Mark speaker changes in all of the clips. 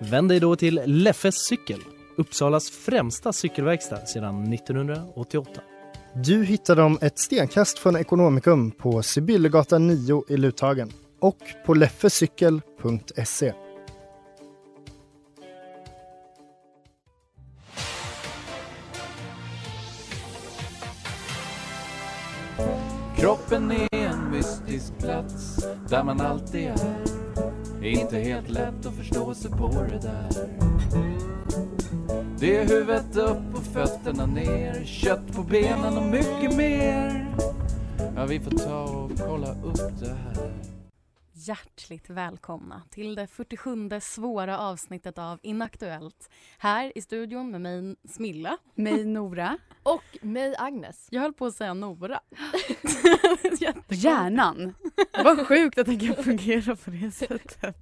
Speaker 1: Vänd dig då till Leffes cykel, Uppsalas främsta cykelverkstad sedan 1988.
Speaker 2: Du hittar dem ett stenkast från Ekonomikum på Sibyllegatan 9 i Luthagen och på leffecykel.se.
Speaker 3: Kroppen är en mystisk plats där man alltid är. Inte helt lätt att förstå sig på det där. Det är huvudet upp och fötterna ner, kött på benen och mycket mer. Ja, vi får ta och kolla upp det här.
Speaker 4: Hjärtligt välkomna till det 47 svåra avsnittet av Inaktuellt. Här i studion med mig Smilla.
Speaker 5: Mig Nora.
Speaker 6: Och mig Agnes.
Speaker 4: Jag höll på att säga Nora. Jättekonstigt.
Speaker 5: Hjärnan. Vad sjukt att den kan fungera på det sättet.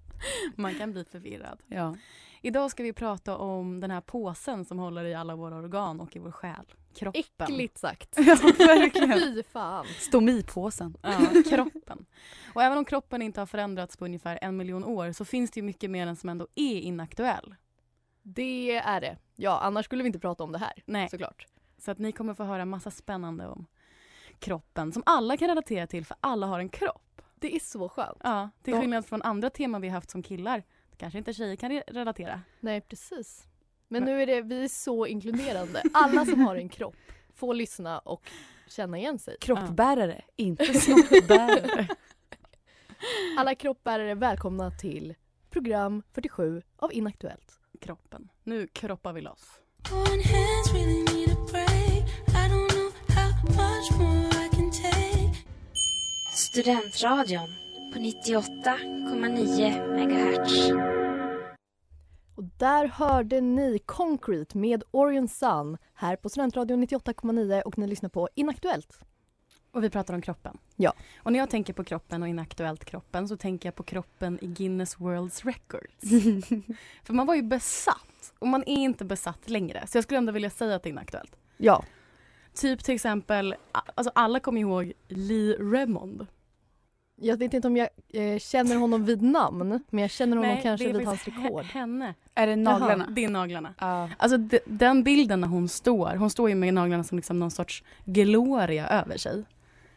Speaker 4: Man kan bli förvirrad.
Speaker 5: Ja.
Speaker 4: Idag ska vi prata om den här påsen som håller i alla våra organ och i vår själ. Kroppen.
Speaker 6: Äckligt sagt.
Speaker 5: ja, verkligen.
Speaker 6: Fy fan.
Speaker 5: Stomipåsen.
Speaker 4: Ja, kroppen. Och även om kroppen inte har förändrats på ungefär en miljon år så finns det ju mycket mer än som ändå är inaktuell.
Speaker 6: Det är det. Ja, annars skulle vi inte prata om det här.
Speaker 4: Nej.
Speaker 6: Såklart.
Speaker 4: Så att ni kommer få höra massa spännande om kroppen som alla kan relatera till för alla har en kropp.
Speaker 6: Det är så skönt.
Speaker 4: Ja, till
Speaker 6: Ja.
Speaker 4: skillnad från andra teman vi haft som killar. Kanske inte tjejer kan re- relatera.
Speaker 6: Nej, precis. Men nu är det, vi är så inkluderande. Alla som har en kropp får lyssna och känna igen sig.
Speaker 5: Kroppbärare, inte snoppbärare.
Speaker 6: Alla kroppar är välkomna till program 47 av Inaktuellt.
Speaker 4: Kroppen. Nu kroppar vi loss.
Speaker 7: One hands really need a break. I don't know how much more I can take.
Speaker 8: Studentradion på 98,9 MHz.
Speaker 6: Och där hörde ni Concrete med Orion Sun här på Studentradion 98,9 och ni lyssnar på Inaktuellt.
Speaker 4: Och vi pratar om kroppen.
Speaker 6: Ja.
Speaker 4: Och när jag tänker på kroppen och inaktuellt kroppen så tänker jag på kroppen i Guinness World Records. För man var ju besatt och man är inte besatt längre. Så jag skulle ändå vilja säga att det är inaktuellt.
Speaker 6: Ja,
Speaker 4: Typ till exempel, a- alltså alla kommer ihåg Lee Remond.
Speaker 6: Jag vet inte om jag eh, känner honom vid namn, men jag känner honom kanske
Speaker 4: det är
Speaker 6: vid hans
Speaker 4: faktiskt
Speaker 6: rekord.
Speaker 4: he- henne.
Speaker 5: Är det
Speaker 4: Jaha, det är naglarna.
Speaker 5: Ja.
Speaker 4: Alltså de, den bilden när hon står, hon står ju med naglarna som liksom någon sorts gloria över sig.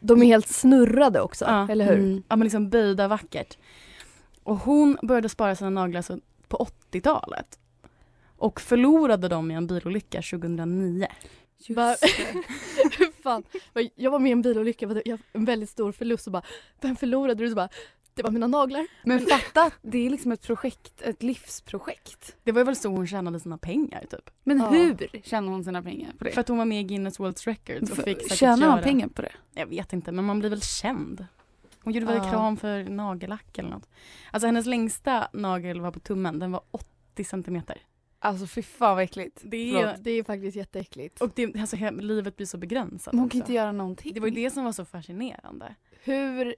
Speaker 6: De är helt snurrade också,
Speaker 4: Ja.
Speaker 6: eller hur?
Speaker 4: Ja men liksom böjda vackert. Och hon började spara sina naglar så- på 80-talet. Och förlorade dem i en bilolycka 2009.
Speaker 6: Bara- Fan. Jag var med i en bilolycka, vad det- jag en väldigt stor förlust och bara, vem förlorade du? Så bara, det var mina naglar.
Speaker 5: Men fatta, att det är liksom ett projekt, ett livsprojekt.
Speaker 4: Det var väl så hon tjänade sina pengar typ.
Speaker 9: Men
Speaker 6: Ja.
Speaker 9: hur tjänar hon sina pengar på det?
Speaker 4: För att hon var med i Guinness World Records och
Speaker 9: För-
Speaker 4: fick säkert
Speaker 9: tjänar
Speaker 4: göra...
Speaker 9: hon pengar på det?
Speaker 4: Jag vet inte men man blir väl känd. Hon gjorde väl
Speaker 6: Ja.
Speaker 4: reklam för nagellack eller något. Alltså hennes längsta nagel var på tummen, den var 80 centimeter.
Speaker 9: Alltså fy fan vad äckligt.
Speaker 4: Det
Speaker 6: Ja, det är faktiskt jätteäckligt.
Speaker 4: Och det, alltså, he- livet blir så begränsat.
Speaker 9: Men hon kan
Speaker 4: också.
Speaker 9: inte göra någonting.
Speaker 4: Alltså. det var ju det som var så fascinerande.
Speaker 6: hur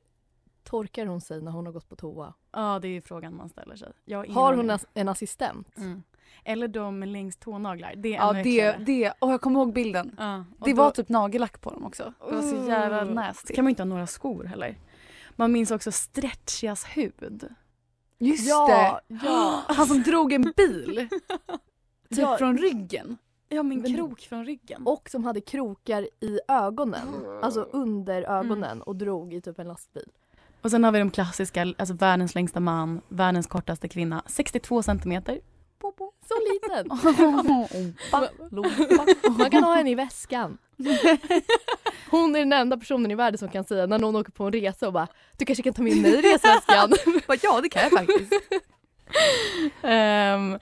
Speaker 6: torkar hon sig när hon har gått på toa?
Speaker 4: Ja, det är ju frågan man ställer sig. Jag ingen
Speaker 6: Har
Speaker 4: aning.
Speaker 6: hon as- en assistent?
Speaker 4: Mm. Eller de med längst tånaglar. Det är
Speaker 9: Ja
Speaker 4: ännu
Speaker 9: det,
Speaker 4: äckligare.
Speaker 9: det, och jag kommer ihåg bilden.
Speaker 4: Ja, och
Speaker 9: Det
Speaker 4: då
Speaker 9: var typ nagellack på dem också. Det var så jävla
Speaker 4: Mm.
Speaker 9: nasty.
Speaker 4: kan man ju inte ha några skor heller. Man minns också Stretchias hud.
Speaker 9: Just
Speaker 6: Ja,
Speaker 9: det!
Speaker 6: ja.
Speaker 9: Han som drog en bil, typ
Speaker 6: Ja,
Speaker 9: från ryggen.
Speaker 4: Ja, min
Speaker 6: Men-
Speaker 4: krok från ryggen.
Speaker 6: Och som hade krokar i ögonen, alltså under ögonen och drog i typ en lastbil.
Speaker 4: Och sen har vi de klassiska, alltså världens längsta man, världens kortaste kvinna, 62 centimeter.
Speaker 6: Så liten!
Speaker 9: Ompa, lompa.
Speaker 6: Man kan ha henne i väskan. Hon är den enda personen i världen som kan säga när någon åker på en resa och bara du kanske kan ta med mig i resväskan.
Speaker 9: Bara, ja det kan jag faktiskt.
Speaker 4: Ehm,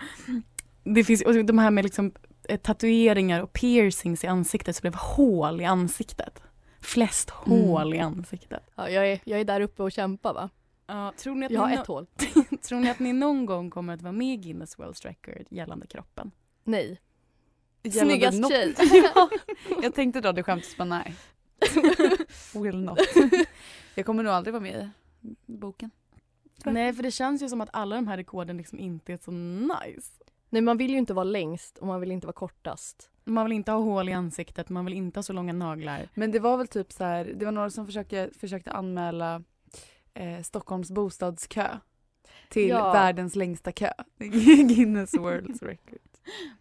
Speaker 4: det finns, och de här med liksom eh, tatueringar och piercings i ansiktet så det var hål i ansiktet. Flest hål i ansiktet.
Speaker 6: ja, jag, är, jag är där uppe och kämpar va?
Speaker 4: Ja, tror ni att
Speaker 9: Jag har
Speaker 4: ni
Speaker 9: ett hål.
Speaker 4: tror ni att ni någon gång kommer att vara med i Guinness World Record gällande kroppen?
Speaker 9: Nej.
Speaker 4: Gällande
Speaker 9: Snyggast
Speaker 4: nopp-
Speaker 9: tjej. jag tänkte dra det skämtet men nej. Will not. Jag kommer nog aldrig vara med i boken.
Speaker 4: Nej, för det känns ju som att alla de här rekorden liksom inte är så nice.
Speaker 6: Nej, man vill ju inte vara längst och man vill inte vara kortast.
Speaker 4: Man vill inte ha hål i ansiktet, man vill inte ha så långa naglar.
Speaker 9: Men det var väl typ så här, det var några som försökte, försökte anmäla eh, Stockholms bostadskö till
Speaker 6: Ja.
Speaker 9: världens längsta kö. Guinness World Record.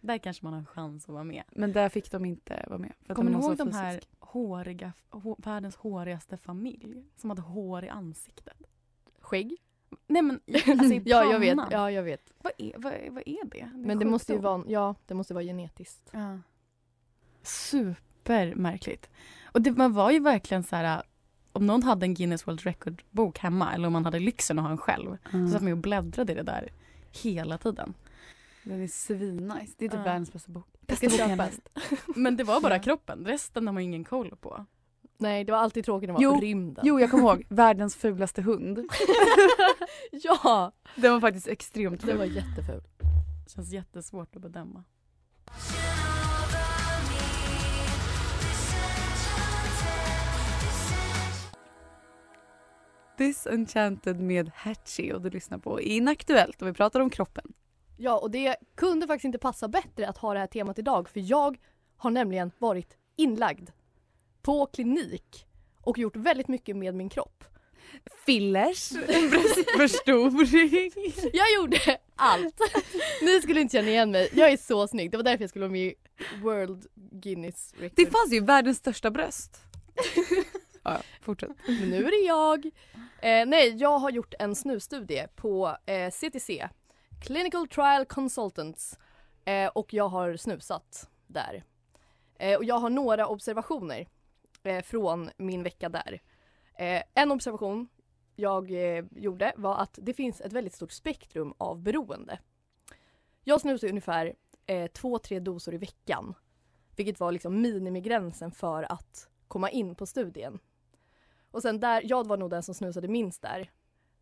Speaker 4: Där kanske man har en chans att vara med.
Speaker 9: Men där fick de inte vara med. För att
Speaker 4: Kommer
Speaker 9: de
Speaker 4: ni
Speaker 9: var så
Speaker 4: ihåg de
Speaker 9: fysisk.
Speaker 4: här håriga, hå, världens hårigaste familj? Som hade hår i ansiktet.
Speaker 9: Skägg?
Speaker 4: Nej men i- alltså i
Speaker 6: Ja, jag vet.
Speaker 4: pannan.
Speaker 6: Ja, jag vet.
Speaker 4: Vad, är, vad, är- vad är det? det är
Speaker 6: Men det måste ju
Speaker 4: sjukdom.
Speaker 6: vara, ja, det måste vara genetiskt.
Speaker 4: Ja. Supermärkligt. Och det, man var ju verkligen så här, om någon hade en Guinness World Record-bok hemma eller om man hade lyxen att ha en själv, så satt man ju och bläddrade i det där hela tiden.
Speaker 9: Den är svinnice. Det är typ
Speaker 4: Ja.
Speaker 9: världens bästa bok.
Speaker 6: Jag ska
Speaker 9: boken jag
Speaker 6: köpa.
Speaker 9: läst.
Speaker 4: Men det var bara
Speaker 9: Ja.
Speaker 4: kroppen, resten har man ju ingen koll på.
Speaker 6: Nej, det var alltid tråkigt när man
Speaker 9: Jo.
Speaker 6: var på rymden.
Speaker 9: Jo, jag kommer ihåg. Världens fulaste hund.
Speaker 6: ja,
Speaker 9: Den var faktiskt extremt
Speaker 6: det
Speaker 9: ful.
Speaker 6: var jätteful.
Speaker 4: Känns jättesvårt att bedöma.
Speaker 9: Disenchanted med Hatchie och du lyssnar på Inaktuellt och vi pratar om kroppen.
Speaker 6: Ja, och det kunde faktiskt inte passa bättre att ha det här temat idag för jag har nämligen varit inlagd på klinik och gjort väldigt mycket med min kropp.
Speaker 9: Fillers, bröstförstoring.
Speaker 6: Jag gjorde allt! Ni skulle inte känna igen mig. Jag är så snygg. Det var därför jag skulle vara med i World Guinness Record.
Speaker 9: Det fanns ju världens största bröst. ja, ja, fortsätt.
Speaker 6: Men nu är det jag. Eh, nej, jag har gjort en snusstudie på eh, CTC, Clinical Trial Consultants, eh, och jag har snusat där. Eh, och jag har några observationer eh, från min vecka där. Eh, en observation jag eh, gjorde var att det finns ett väldigt stort spektrum av beroende. Jag snusar ungefär eh, två, tre doser i veckan, vilket var liksom minimigränsen för att komma in på studien. Och sen där, jag var nog den som snusade minst där.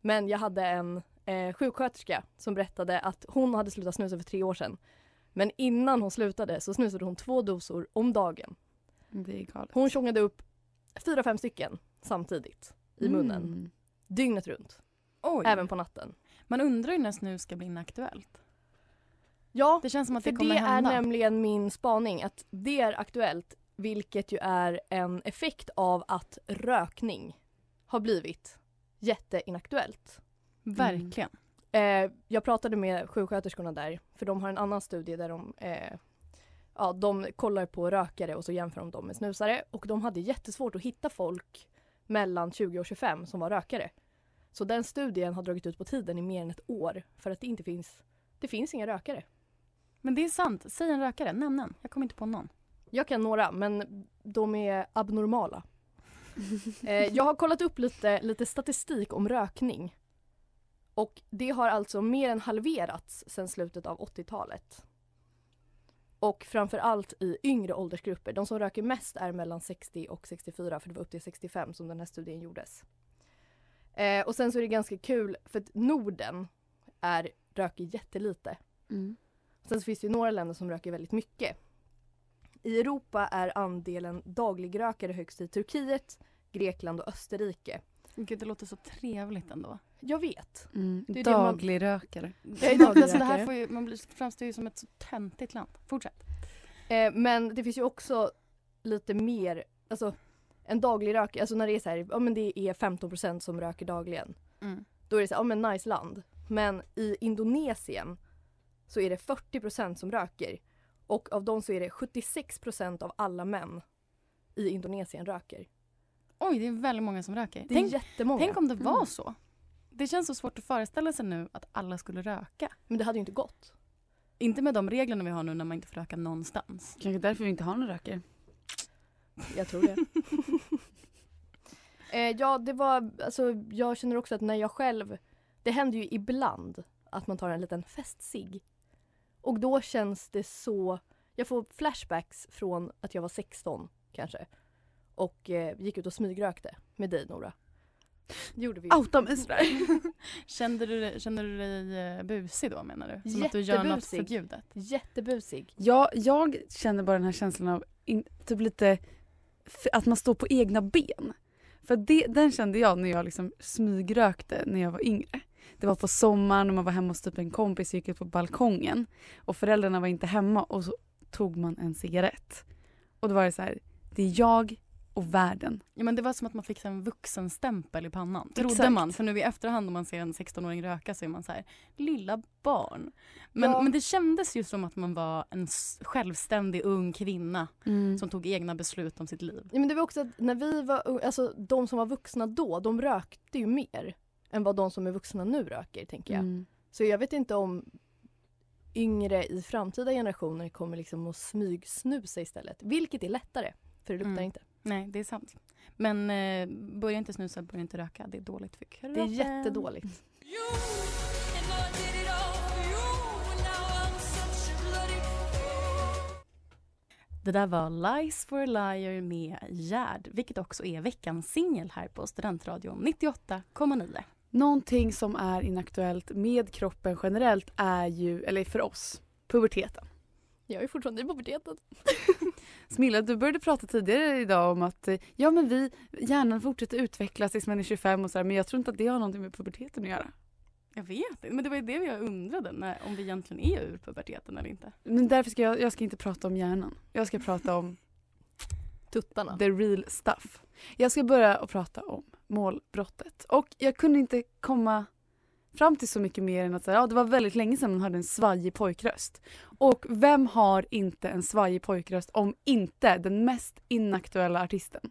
Speaker 6: Men jag hade en eh, sjuksköterska som berättade att hon hade slutat snusa för tre år sedan. Men innan hon slutade så snusade hon två dosor om dagen.
Speaker 9: Det är galet.
Speaker 6: Hon tjongade upp fyra, fem stycken samtidigt i munnen.
Speaker 9: Mm.
Speaker 6: Dygnet runt.
Speaker 4: Oj.
Speaker 6: Även på natten.
Speaker 4: Man undrar ju när snus ska bli inaktuellt.
Speaker 6: Ja,
Speaker 4: Det känns som att det mm.
Speaker 6: för
Speaker 4: kommer
Speaker 6: det är
Speaker 4: hända.
Speaker 6: nämligen min spaning att det är aktuellt vilket ju är en effekt av att rökning har blivit jätteinaktuellt.
Speaker 4: Verkligen.
Speaker 6: Eh, jag pratade med sjuksköterskorna där, för de har en annan studie där de, eh, ja, de kollar på rökare och så jämför de dem med snusare. Och de hade jättesvårt att hitta folk mellan 20 och 25 som var rökare. Så den studien har dragit ut på tiden i mer än ett år för att det inte finns, det finns inga rökare.
Speaker 4: Men det är sant. Säg en rökare, nämn en. Jag kommer inte på någon.
Speaker 6: Jag kan några, men de är abnormala. eh, jag har kollat upp lite, lite statistik om rökning. Och det har alltså mer än halverats sedan slutet av 80-talet. Och framförallt i yngre åldersgrupper. De som röker mest är mellan 60 och 64, för det var upp till 65 som den här studien gjordes. Eh, och sen så är det ganska kul, för att Norden är, röker jättelite.
Speaker 9: Mm.
Speaker 6: Sen så finns det ju några länder som röker väldigt mycket. I Europa är andelen dagligrökare högst i Turkiet, Grekland och Österrike.
Speaker 4: Gud, det låter så trevligt ändå.
Speaker 6: Jag vet.
Speaker 9: Mm.
Speaker 6: Det är det man-
Speaker 9: Dagligrökare.
Speaker 6: är
Speaker 4: alltså, det
Speaker 6: dagligrökare.
Speaker 4: här får ju, man blir, framstår ju som ett så töntigt land. Fortsätt.
Speaker 6: Eh, men det finns ju också lite mer, alltså en daglig rök, alltså när det är så här, ja men det är 15 som röker dagligen.
Speaker 4: Mm.
Speaker 6: Då är det så här, ja men nice land. Men i Indonesien så är det 40 som röker. Och av dem så är det 76 av alla män i Indonesien röker.
Speaker 4: Oj, det är väldigt många som röker.
Speaker 6: Det är
Speaker 4: Tänk,
Speaker 6: jättemånga.
Speaker 4: tänk om det var
Speaker 9: Mm.
Speaker 4: så. Det känns så svårt att föreställa sig nu att alla skulle röka.
Speaker 6: Men det hade ju inte gått.
Speaker 4: Inte med de reglerna vi har nu när man inte får röka någonstans.
Speaker 9: Kanske därför vi inte har några rökare.
Speaker 6: Jag tror det. eh, ja, det var, alltså jag känner också att när jag själv, det händer ju ibland att man tar en liten festsig. Och då känns det så, jag får flashbacks från att jag var 16 kanske. Och eh, gick ut och smygrökte med dig Nora.
Speaker 4: gjorde vi.
Speaker 9: Outa mig sådär.
Speaker 4: Kände du, dig- kände du dig eh, busig då menar du? Som att du gör något
Speaker 6: Jättebusig.
Speaker 4: förbjudet?
Speaker 6: Jättebusig.
Speaker 9: Ja, jag känner bara den här känslan av in, typ lite f- att man står på egna ben. För det, den kände jag när jag liksom smygrökte när jag var yngre. Det var på sommaren och man var hemma hos typ en kompis och gick ut på balkongen och föräldrarna var inte hemma och så tog man en cigarett. Och då var det så här, det är jag och världen.
Speaker 4: Ja, men det var som att man fick en vuxenstämpel i pannan. Trodde
Speaker 9: Exakt.
Speaker 4: man. För nu i efterhand om man ser en 16-åring röka så är man så här, lilla barn. Men,
Speaker 9: Ja.
Speaker 4: men det kändes ju som att man var en s- självständig ung kvinna som tog egna beslut om sitt liv.
Speaker 6: Ja, men det var också att när vi var ung- alltså de som var vuxna då, de rökte ju mer än vad de som är vuxna nu röker tänker jag.
Speaker 9: Mm.
Speaker 6: Så jag vet inte om yngre i framtida generationer kommer liksom att smygsnusa istället. Vilket är lättare, för det luktar
Speaker 4: Mm.
Speaker 6: inte.
Speaker 4: Nej, det är sant. Men eh, börja inte snusa, börja inte röka. Det är dåligt för kroppen.
Speaker 6: Det är jättedåligt.
Speaker 4: Det där var Lies for a Liar med Gerd, vilket också är veckans singel här på Studentradion 98,9.
Speaker 9: Någonting som är inaktuellt med kroppen generellt är ju, eller för oss, puberteten.
Speaker 6: Jag är fortfarande i puberteten.
Speaker 9: Smilla, du började prata tidigare idag om att eh, ja, men vi, hjärnan fortsätter utvecklas tills man är 25 och så här, men jag tror inte att det har någonting med puberteten att göra.
Speaker 4: Jag vet inte, men det var ju det jag undrade, när, om vi egentligen är ur puberteten eller inte.
Speaker 9: Men därför ska jag, jag ska inte prata om hjärnan. Jag ska prata om
Speaker 6: Tuttarna.
Speaker 9: the real stuff. Jag ska börja att prata om målbrottet. Och jag kunde inte komma fram till så mycket mer än att så här, ja, det var väldigt länge sedan man hörde en svajig pojkröst. Och vem har inte en svajig pojkröst om inte den mest inaktuella artisten?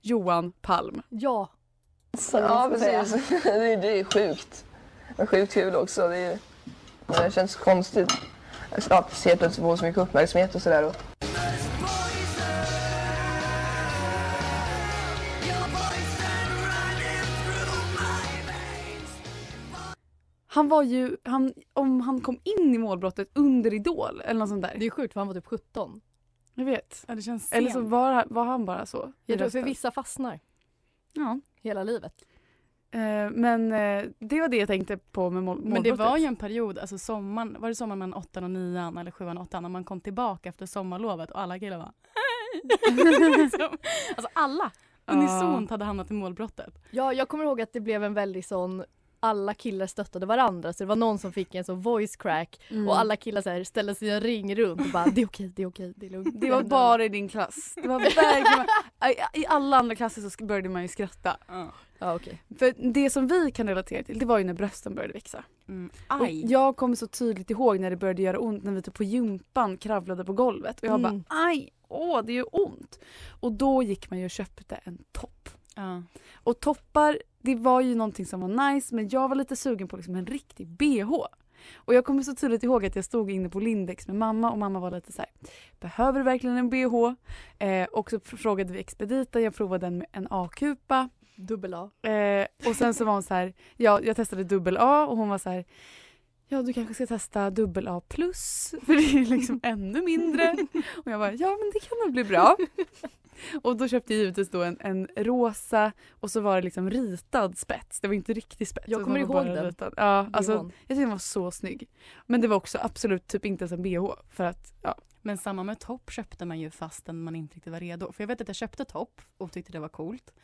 Speaker 9: Johan Palm.
Speaker 6: Ja.
Speaker 10: Ja, precis. Det är, det är sjukt. Men sjukt kul också. Det, är, det känns konstigt att helt plötsligt få så mycket uppmärksamhet och sådär.
Speaker 9: Han var ju, han, om han kom in i målbrottet under Idol eller något sånt där.
Speaker 6: Det är sjukt för han var typ 17.
Speaker 9: Jag vet.
Speaker 4: Ja, det känns
Speaker 9: Eller så var, var han bara så. i
Speaker 6: Jag tror för
Speaker 9: rösten.
Speaker 6: vissa fastnar.
Speaker 9: Ja.
Speaker 6: Hela livet.
Speaker 9: Eh, men eh, det var det jag tänkte på med mål,
Speaker 4: Men det
Speaker 9: målbrottet.
Speaker 4: var ju en period, alltså sommaren, var det sommaren mellan åttan och nian eller sjuan och åttan, när man kom tillbaka efter sommarlovet och alla killar bara liksom. Alltså alla unisont hade hamnat i målbrottet.
Speaker 6: Ja, jag kommer ihåg att det blev en väldigt sån alla killar stöttade varandra så det var någon som fick en sån voice crack
Speaker 9: Mm.
Speaker 6: och alla killar så här ställde sig i en ring runt och bara det är okej, det är okej, det är lugnt.
Speaker 9: Det var
Speaker 6: lugnt."
Speaker 9: bara i din klass. Det var verkligen, I, I alla andra klasser så sk- började man ju skratta.
Speaker 6: Ja, okej.
Speaker 9: För det som vi kan relatera till det var ju när brösten började växa.
Speaker 4: Mm.
Speaker 9: Och
Speaker 4: Aj.
Speaker 9: jag kommer så tydligt ihåg när det började göra ont när vi typ på gympan kravlade på golvet och jag
Speaker 4: Mm.
Speaker 9: bara aj, åh det gör ont. Och då gick man ju och köpte en topp.
Speaker 4: Ja.
Speaker 9: Och toppar, det var ju någonting som var nice men jag var lite sugen på liksom en riktig bh. Och jag kommer så tydligt ihåg att jag stod inne på Lindex med mamma och mamma var lite så här, behöver du verkligen en bh? Eh, och så frågade vi expediten, jag provade en, en A-kupa.
Speaker 6: Dubbel A.
Speaker 9: Eh, och sen så var hon så här, ja, jag testade dubbel A och hon var så här, ja du kanske ska testa dubbel A plus för det är liksom ännu mindre. Och jag bara, ja men det kan nog bli bra. Och då köpte jag givetvis då en, en rosa och så var det liksom ritad spets. Det var inte riktig spets.
Speaker 6: Jag
Speaker 9: utan
Speaker 6: kommer
Speaker 9: det var
Speaker 6: ihåg
Speaker 9: bara
Speaker 6: den.
Speaker 9: Ritad. Ja, alltså,
Speaker 6: BH:n.
Speaker 9: jag tyckte den var så snygg. Men det var också absolut typ inte ens en bh för att ja.
Speaker 4: Men samma med topp köpte man ju fastän man inte riktigt var redo. För jag vet att jag köpte topp och tyckte det var coolt.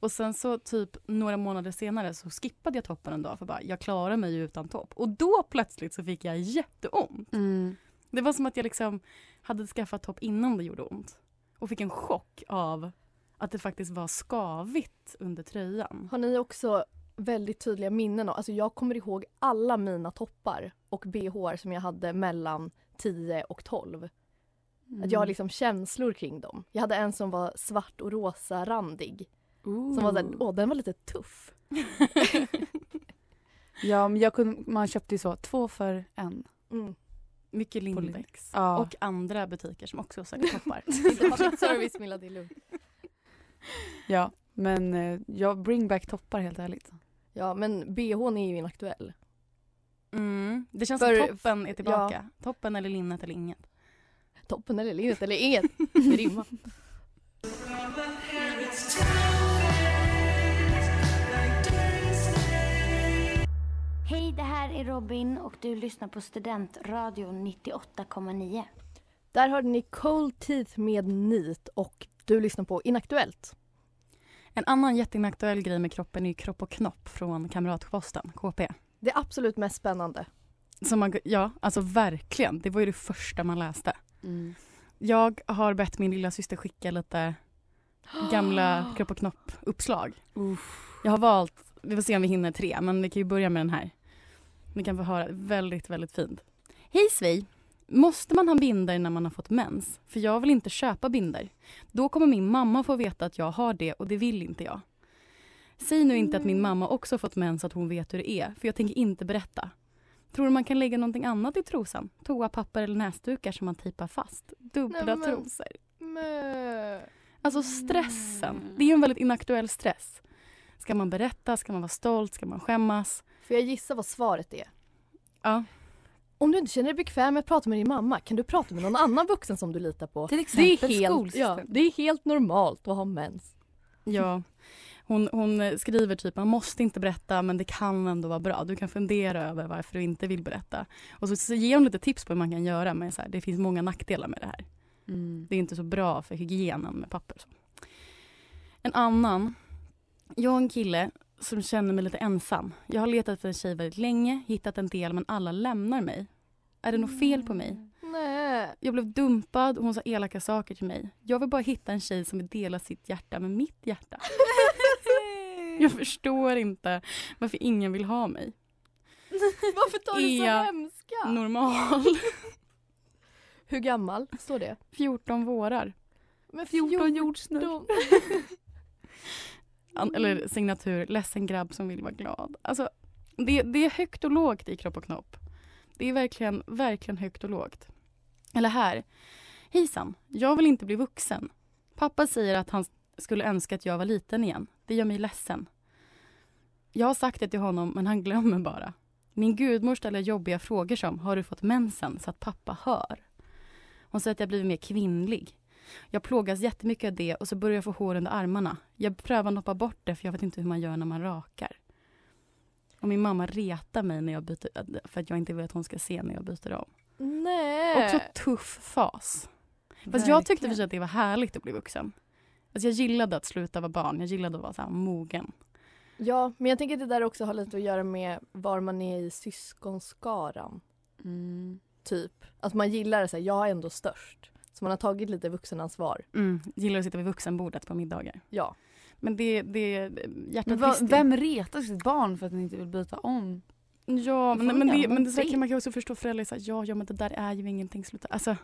Speaker 4: Och sen så typ några månader senare så skippade jag toppen en dag för bara jag klarar mig ju utan topp. Och då plötsligt så fick jag jätteont.
Speaker 6: Mm.
Speaker 4: Det var som att jag liksom hade skaffat topp innan det gjorde ont. Och fick en chock av att det faktiskt var skavigt under tröjan.
Speaker 6: Har ni också väldigt tydliga minnen? av- Alltså jag kommer ihåg alla mina toppar och bhar som jag hade mellan 10 och 12.
Speaker 9: Mm.
Speaker 6: Att jag har liksom känslor kring dem. Jag hade en som var svart och rosa randig. Som var såhär, åh den var lite tuff.
Speaker 9: Ja, men liksom, jag kunde, man köpte ju så två för en.
Speaker 6: Mm.
Speaker 4: Mycket Lindex.
Speaker 9: Ja.
Speaker 4: Och andra butiker som också säljer toppar.
Speaker 6: Inte public Alltså, service Milla, det är lugnt.
Speaker 9: Ja, men eh, jag bring back toppar helt ärligt.
Speaker 6: Ja men bhn är ju inaktuell.
Speaker 4: Mm. Det känns
Speaker 6: För-
Speaker 4: som toppen är tillbaka. Toppen eller linnet eller inget.
Speaker 6: Toppen eller linnet eller inget. Det rimmar.
Speaker 7: Like
Speaker 11: här är Robin och du lyssnar på Studentradion 98,9.
Speaker 6: Där hörde ni Cold Teeth med NEAT och du lyssnar på Inaktuellt.
Speaker 4: En annan jätteinaktuell grej med kroppen är ju Kropp och knopp från Kamratposten, KP.
Speaker 6: Det absolut mest spännande.
Speaker 4: Som man, ja, alltså verkligen. Det var ju det första man läste. Mm. Jag har bett min lilla syster skicka lite gamla Kropp och knopp-uppslag. Jag har valt, vi får se om vi hinner tre, men vi kan ju börja med den här. Ni kan få höra, väldigt, väldigt fint. Hej Svi! Måste man ha binder när man har fått mens? För jag vill inte köpa binder. Då kommer min mamma få veta att jag har det och det vill inte jag. Säg nu inte att min mamma också har fått mens så att hon vet hur det är, för jag tänker inte berätta. Tror du man kan lägga någonting annat i trosan? Toapapper eller näsdukar som man tejpar fast? Dubbla
Speaker 6: Nej, men-
Speaker 4: trosor. Alltså
Speaker 6: Mm.
Speaker 4: stressen. Det är ju en väldigt inaktuell stress. Ska man berätta? Ska man vara stolt? Ska man skämmas?
Speaker 6: Får jag gissa vad svaret är?
Speaker 4: Ja.
Speaker 6: Om du inte känner dig bekväm med att prata med din mamma, kan du prata med någon annan vuxen som du litar på?
Speaker 4: Till
Speaker 6: det är
Speaker 4: exempel
Speaker 6: helt, ja,
Speaker 4: skolsystern.
Speaker 6: Det är helt normalt att ha mens.
Speaker 4: Ja. Hon, hon eh, skriver typ man måste inte berätta men det kan ändå vara bra. Du kan fundera över varför du inte vill berätta. Och så, så ger hon lite tips på hur man kan göra men så här, det finns många nackdelar med det här. Det är inte så bra för hygienen med papper. Så. En annan. Jag är en kille som känner mig lite ensam. Jag har letat efter en tjej väldigt länge, hittat en del men alla lämnar mig. Är det något fel på mig?
Speaker 6: Mm. Nej.
Speaker 4: Jag blev dumpad och hon sa elaka saker till mig. Jag vill bara hitta en tjej som vill dela sitt hjärta med mitt hjärta. Jag förstår inte varför ingen vill ha mig.
Speaker 6: Varför tar du så
Speaker 4: Är jag
Speaker 6: hemska?
Speaker 4: Normal.
Speaker 6: Hur gammal står det?
Speaker 4: 14 vårar.
Speaker 6: Men 14 jordsnurr.
Speaker 4: An- Eller signatur, ledsen grabb som vill vara glad. Alltså, det, det är högt och lågt i Kropp och knopp. Det är verkligen, verkligen högt och lågt. Eller här. Hejsan, jag vill inte bli vuxen. Pappa säger att han skulle önska att jag var liten igen. Det gör mig ledsen. Jag har sagt det till honom, men han glömmer bara. Min gudmor ställer jobbiga frågor som Har du fått mensen? så att pappa hör. Hon säger att jag blivit mer kvinnlig. Jag plågas jättemycket av det och så börjar jag få hår under armarna. Jag prövar att noppa bort det för jag vet inte hur man gör när man rakar. Och min mamma retar mig när jag byter, för att jag inte vill att hon ska se när jag byter om.
Speaker 9: Eh.
Speaker 6: Nej.
Speaker 4: Också tuff fas. Fast jag tyckte för sig att det var härligt att bli vuxen. Alltså jag gillade att sluta vara barn, jag gillade att vara så här mogen.
Speaker 6: Ja, men jag tänker att det där också har lite att göra med var man är i syskonskaran.
Speaker 4: Mm.
Speaker 6: Typ. Att man gillar det så här, jag är ändå störst. Så man har tagit lite vuxenansvar.
Speaker 4: Mm. Gillar att sitta vid vuxenbordet på middagar.
Speaker 6: Ja.
Speaker 4: Men det, det hjärtat
Speaker 9: Men vad,
Speaker 4: brister ju.
Speaker 9: vem retar sitt barn för att den inte vill byta om?
Speaker 4: Ja,
Speaker 9: Det
Speaker 4: men,
Speaker 9: får
Speaker 4: men,
Speaker 9: man
Speaker 4: det,
Speaker 9: göra,
Speaker 4: men det, så här
Speaker 9: man
Speaker 4: kan man kan också förstå föräldrar säger ja, ja, men det där är ju ingenting, sluta. Alltså,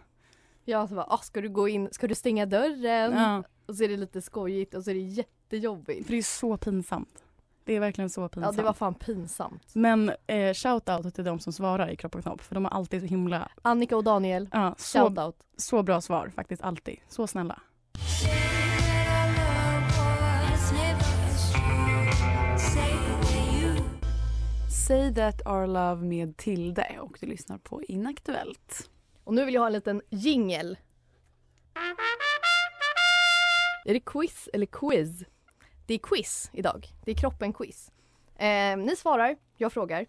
Speaker 6: Ja, så bara, ah, ska du gå in, ska du stänga dörren?
Speaker 4: Ja.
Speaker 6: Och så är det lite skojigt och så är det jättejobbigt.
Speaker 4: för det är så pinsamt. Det är verkligen så
Speaker 6: Ja,
Speaker 4: pinsamt.
Speaker 6: det var fan pinsamt.
Speaker 4: Men eh, shout-out till de som svarar i Kropp och Knopp, för de har alltid så himla...
Speaker 6: Annika och Daniel,
Speaker 4: Ja, så,
Speaker 6: shoutout.
Speaker 4: så bra svar faktiskt, alltid. Så snälla.
Speaker 9: Say that our love med Tilde och du lyssnar på Inaktuellt.
Speaker 6: Och nu vill jag ha en liten jingel. Är det quiz eller quiz? Det är quiz idag. Det är kroppen-quiz. Eh, ni svarar, jag frågar.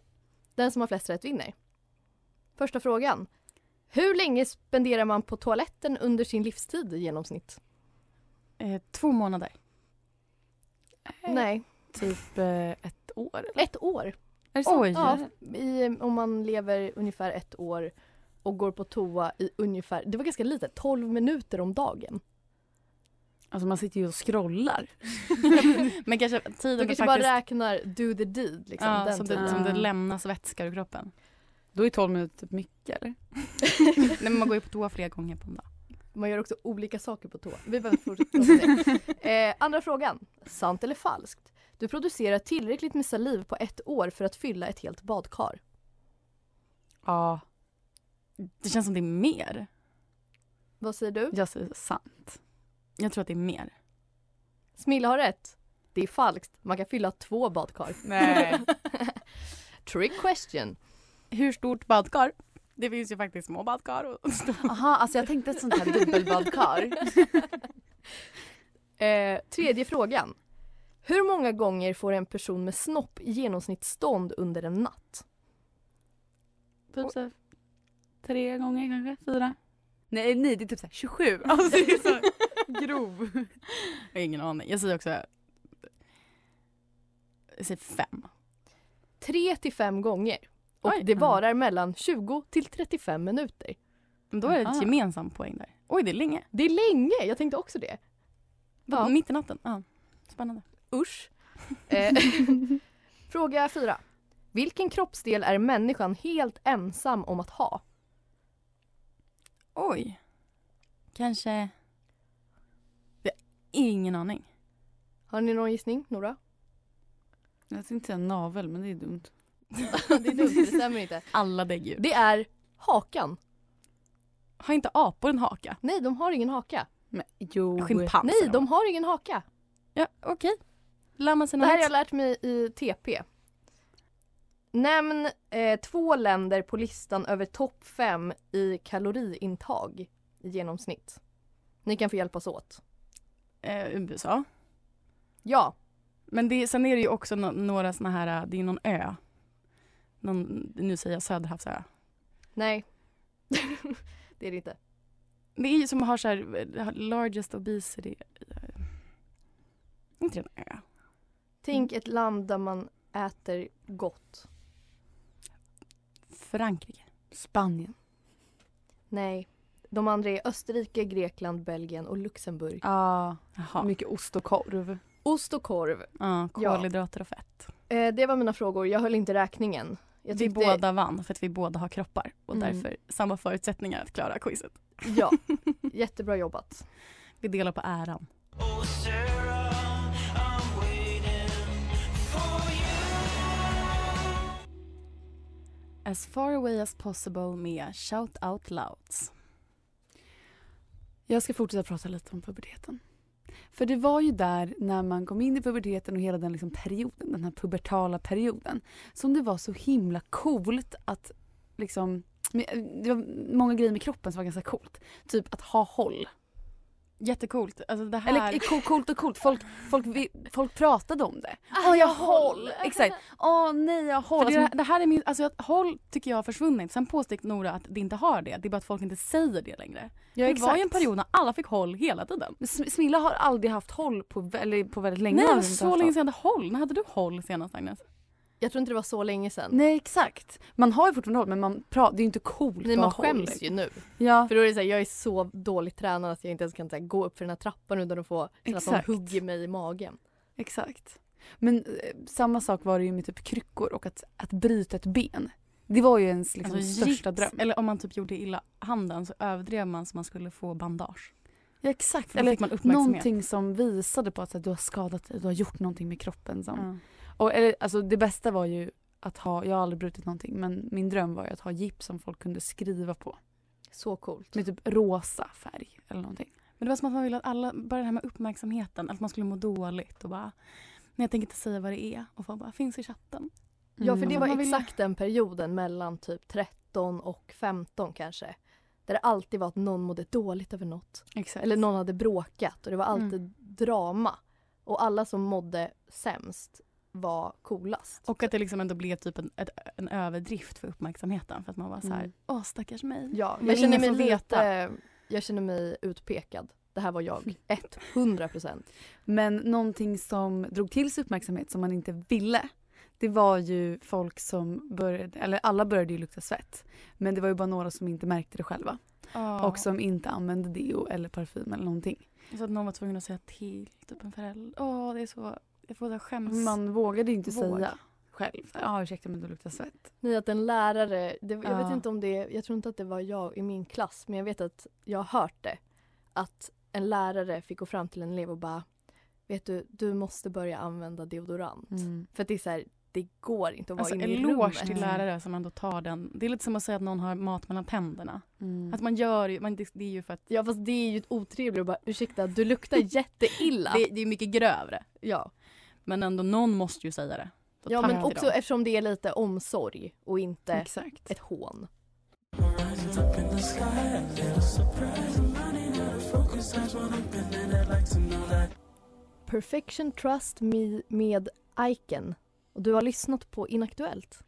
Speaker 6: Den som har flest rätt vinner. Första frågan. Hur länge spenderar man på toaletten under sin livstid i genomsnitt?
Speaker 4: Eh, två månader.
Speaker 6: Nej,
Speaker 9: Eh, Typ eh, ett år. Eller?
Speaker 6: ett år.
Speaker 9: Är det sant?
Speaker 4: Oj.
Speaker 6: Ja, i, om man lever ungefär ett år och går på toa i ungefär, det var ganska lite, 12 minuter om dagen.
Speaker 9: Alltså man sitter ju och scrollar.
Speaker 4: Men kanske
Speaker 6: Du
Speaker 4: tiden
Speaker 6: kanske bara räknar do the deed. Liksom,
Speaker 4: ja,
Speaker 6: den
Speaker 4: som,
Speaker 6: tiden.
Speaker 4: det, som det lämnas vätska ur kroppen.
Speaker 9: Då är 12 minuter typ mycket eller?
Speaker 4: Nej, men man går ju på toa flera gånger på en dag.
Speaker 6: Man gör också olika saker på toa. Vi behöver inte fortsätta prata om det. eh, Andra frågan. Sant eller falskt? Du producerar tillräckligt med saliv på ett år för att fylla ett helt badkar.
Speaker 9: Ja,
Speaker 4: Det känns som det är mer.
Speaker 6: Vad säger du?
Speaker 9: jag säger sant.
Speaker 4: Jag tror att det är mer.
Speaker 6: Smilla har rätt. Det är falskt. Man kan fylla två badkar.
Speaker 9: Nej.
Speaker 6: Trick question.
Speaker 4: Hur stort badkar? Det finns ju faktiskt små badkar. Och
Speaker 9: Aha, alltså jag tänkte ett sånt här dubbelbadkar.
Speaker 6: Eh, tredje frågan. Hur många gånger får en person med snopp i genomsnitt stånd under en natt?
Speaker 9: Typ så här, tre gånger kanske, fyra. Nej, nej det är typ så här 27. Alltså det är så här grov.
Speaker 4: Jag har ingen aning. Jag säger också... Jag säger fem.
Speaker 6: Tre till fem gånger. Och det varar mellan 20 till 35 minuter.
Speaker 4: Men då är det
Speaker 6: Ah.
Speaker 4: ett gemensamt poäng där. Oj, det är länge.
Speaker 6: Det är länge, jag tänkte också det.
Speaker 4: Vadå, Mitt i natten? Ja. Spännande.
Speaker 6: Usch. Eh, Fråga fyra. Vilken kroppsdel är människan helt ensam om att ha?
Speaker 4: Oj. Kanske... Jag har ingen aning.
Speaker 6: Har ni någon gissning, Nora?
Speaker 9: Jag tänkte säga navel men det är dumt.
Speaker 6: det är dumt, det stämmer inte.
Speaker 4: Alla däggdjur.
Speaker 6: Det är hakan.
Speaker 4: Har inte apor en haka?
Speaker 6: Nej, de har ingen haka.
Speaker 9: Men, jo.
Speaker 4: Schimpanser
Speaker 6: Oh, Nej,
Speaker 4: då?
Speaker 6: de har ingen haka.
Speaker 4: Ja, okej. Lär man sig
Speaker 6: Det
Speaker 4: något
Speaker 6: här har
Speaker 4: nytt?
Speaker 6: jag lärt mig i TP. Nämn eh, två länder på listan över topp fem i kaloriintag i genomsnitt. Ni kan få hjälpas åt.
Speaker 4: Eh, USA.
Speaker 6: Ja,
Speaker 4: Men det, sen är det ju också no- några såna här, äh, det är någon ö. Någon, nu säger jag Söderhavsö.
Speaker 6: nej. det är det inte.
Speaker 4: Det är ju som har så här, eh, largest obesity. eh, Inte en ö. Mm.
Speaker 6: Tänk ett land där man äter gott.
Speaker 4: Frankrike.
Speaker 9: Spanien.
Speaker 6: Nej. De andra är Österrike, Grekland, Belgien och Luxemburg.
Speaker 9: Ja,
Speaker 4: Jaha.
Speaker 9: mycket ost och korv.
Speaker 6: Ost och korv.
Speaker 4: Ja,
Speaker 6: Ja.
Speaker 4: kolhydrater och fett.
Speaker 6: Eh, det var mina frågor. Jag höll inte räkningen. Jag
Speaker 4: Vi båda vann för att vi båda har kroppar och
Speaker 6: Mm.
Speaker 4: därför samma förutsättningar att klara quizet.
Speaker 6: Ja, jättebra jobbat.
Speaker 4: Vi delar på äran. As far away as possible med Shout Out Louds.
Speaker 9: Jag ska fortsätta prata lite om puberteten. För det var ju där när man kom in i puberteten och hela den liksom perioden, den här pubertala perioden, som det var så himla coolt att liksom, men, det var många grejer med kroppen som var ganska coolt. Typ att ha håll.
Speaker 4: Jättecoolt. Alltså det här...
Speaker 9: Eller co- coolt och coolt, folk, folk, vi- folk pratade om det.
Speaker 4: Ah,
Speaker 9: Åh jag har håll! Exakt. Åh nej jag har håll.
Speaker 4: För det,
Speaker 9: Alltså,
Speaker 4: det här är min, alltså att håll tycker jag har försvunnit. Sen påstod Nora att det inte har det. Det är bara att folk inte säger det längre.
Speaker 9: Ja,
Speaker 4: det var ju en
Speaker 9: exakt.
Speaker 4: period när alla fick håll hela tiden.
Speaker 9: Sm- Smilla har aldrig haft håll på, vä- eller på väldigt länge.
Speaker 4: Nej,
Speaker 9: har
Speaker 4: det var
Speaker 9: hon inte
Speaker 4: så
Speaker 9: haft
Speaker 4: länge
Speaker 9: håll.
Speaker 4: sedan jag hade håll. När hade du håll senast Agnes?
Speaker 6: Jag tror inte det var så länge sedan.
Speaker 9: Nej exakt. Man har ju fortfarande håll men man pratar, det är ju inte coolt
Speaker 6: Nej,
Speaker 9: att
Speaker 6: man
Speaker 9: ha håll.
Speaker 6: skäms ju nu.
Speaker 9: Ja.
Speaker 6: För då är det så här, jag är så dåligt tränad att jag inte ens kan så här, gå upp för den här trappan utan att få så att de
Speaker 9: Exakt.
Speaker 6: hugger mig i magen.
Speaker 9: Exakt. Men eh, samma sak var det ju med typ kryckor och att, att bryta ett ben. Det var ju ens liksom, största
Speaker 4: gips.
Speaker 9: dröm.
Speaker 4: Eller om man typ gjorde illa handen så överdrev man så man skulle få bandage.
Speaker 9: Ja, exakt.
Speaker 4: För då
Speaker 9: Eller
Speaker 4: fick man uppmärksamhet.
Speaker 9: någonting som visade på att så här, du har skadat dig, du har gjort någonting med kroppen. Som. Och, eller, alltså, det bästa var ju att ha, jag har aldrig brutit någonting men min dröm var ju att ha gips som folk kunde skriva på.
Speaker 6: Så coolt.
Speaker 9: Med typ rosa färg eller någonting.
Speaker 4: Men det var som att man ville att alla, bara det här med uppmärksamheten, att man skulle må dåligt och bara Nej jag tänker inte säga vad det är och folk bara finns i chatten.
Speaker 6: Ja, för det
Speaker 4: Mm.
Speaker 6: var
Speaker 4: Man vill-
Speaker 6: exakt den perioden mellan typ 13 och 15 kanske. Där det alltid var att någon mådde dåligt över något.
Speaker 9: Exakt.
Speaker 6: Eller någon hade bråkat och det var alltid drama. Och alla som mådde sämst var coolast.
Speaker 4: Och att det liksom ändå blev typ en, ett, en överdrift för uppmärksamheten för att man var så här,
Speaker 9: Mm.
Speaker 4: åh stackars mig.
Speaker 6: Ja,
Speaker 4: Men
Speaker 6: jag känner mig
Speaker 4: ingen får veta.
Speaker 6: lite, jag känner mig utpekad. Det här var jag, 100 procent.
Speaker 9: Men någonting som drog till sig uppmärksamhet som man inte ville det var ju folk som började, eller alla började ju lukta svett. Men det var ju bara några som inte märkte det själva.
Speaker 4: Ja.
Speaker 9: Och som inte använde deo eller parfym eller någonting.
Speaker 4: Så att någon var tvungen att säga till, typ en förälder. Åh det är så, jag får så här skäms.
Speaker 9: Man vågade ju inte
Speaker 4: Våg.
Speaker 9: säga själv. Ja ursäkta men du luktar svett.
Speaker 6: Ni att en lärare, det, jag
Speaker 9: Ja.
Speaker 6: vet inte om det, jag tror inte att det var jag i min klass men jag vet att jag har hört det. Att en lärare fick gå fram till en elev och bara Vet du, du måste börja använda deodorant.
Speaker 9: Mm.
Speaker 6: För att det är så här, det går inte att vara
Speaker 4: Alltså
Speaker 6: inne i Mm.
Speaker 4: eloge
Speaker 6: rummet.
Speaker 4: till lärare som ändå tar den. Det är lite som att säga att någon har mat mellan tänderna.
Speaker 9: Mm.
Speaker 4: Att man gör ju, man, det, det är ju för att
Speaker 6: Ja fast det är ju otrevligt att bara ursäkta du luktar jätteilla.
Speaker 4: det, det är mycket grövre.
Speaker 6: Ja,
Speaker 4: Men ändå någon måste ju säga det. Så
Speaker 6: ja
Speaker 4: tack
Speaker 6: men
Speaker 4: till
Speaker 6: också
Speaker 4: dem. Mm.
Speaker 6: eftersom det är lite omsorg och inte
Speaker 9: Exakt.
Speaker 6: ett hån. Perfection Trust Me med Iken. Och du har lyssnat på Inaktuellt.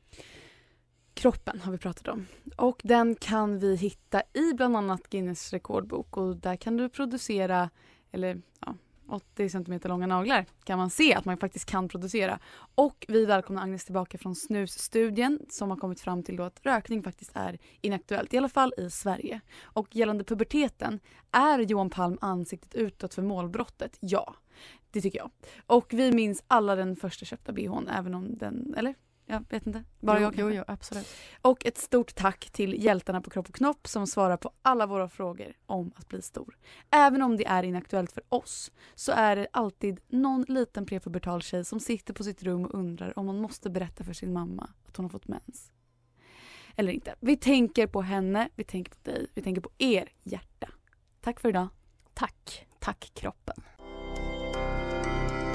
Speaker 9: kroppen har vi pratat om. Och den kan vi hitta i bland annat Guinness rekordbok och där kan du producera, eller ja, 80 cm långa naglar kan man se att man faktiskt kan producera. Och vi välkomnar Agnes tillbaka från snusstudien som har kommit fram till då att rökning faktiskt är inaktuellt, i alla fall i Sverige. Och gällande puberteten, är Johan Palm ansiktet utåt för målbrottet? Ja, det tycker jag. Och vi minns alla den första köpta bhn, även om den, eller? Jag vet inte. Bara
Speaker 4: Jo,
Speaker 9: jag
Speaker 4: jo,
Speaker 9: kanske.
Speaker 4: jo, absolut.
Speaker 9: Och ett stort tack till hjältarna på Kropp och Knopp som svarar på alla våra frågor om att bli stor. Även om det är inaktuellt för oss så är det alltid någon liten prepubertal tjej som sitter på sitt rum och undrar om hon måste berätta för sin mamma att hon har fått mens. Eller inte. Vi tänker på henne, vi tänker på dig, vi tänker på er hjärta. Tack för idag.
Speaker 4: Tack. Tack kroppen.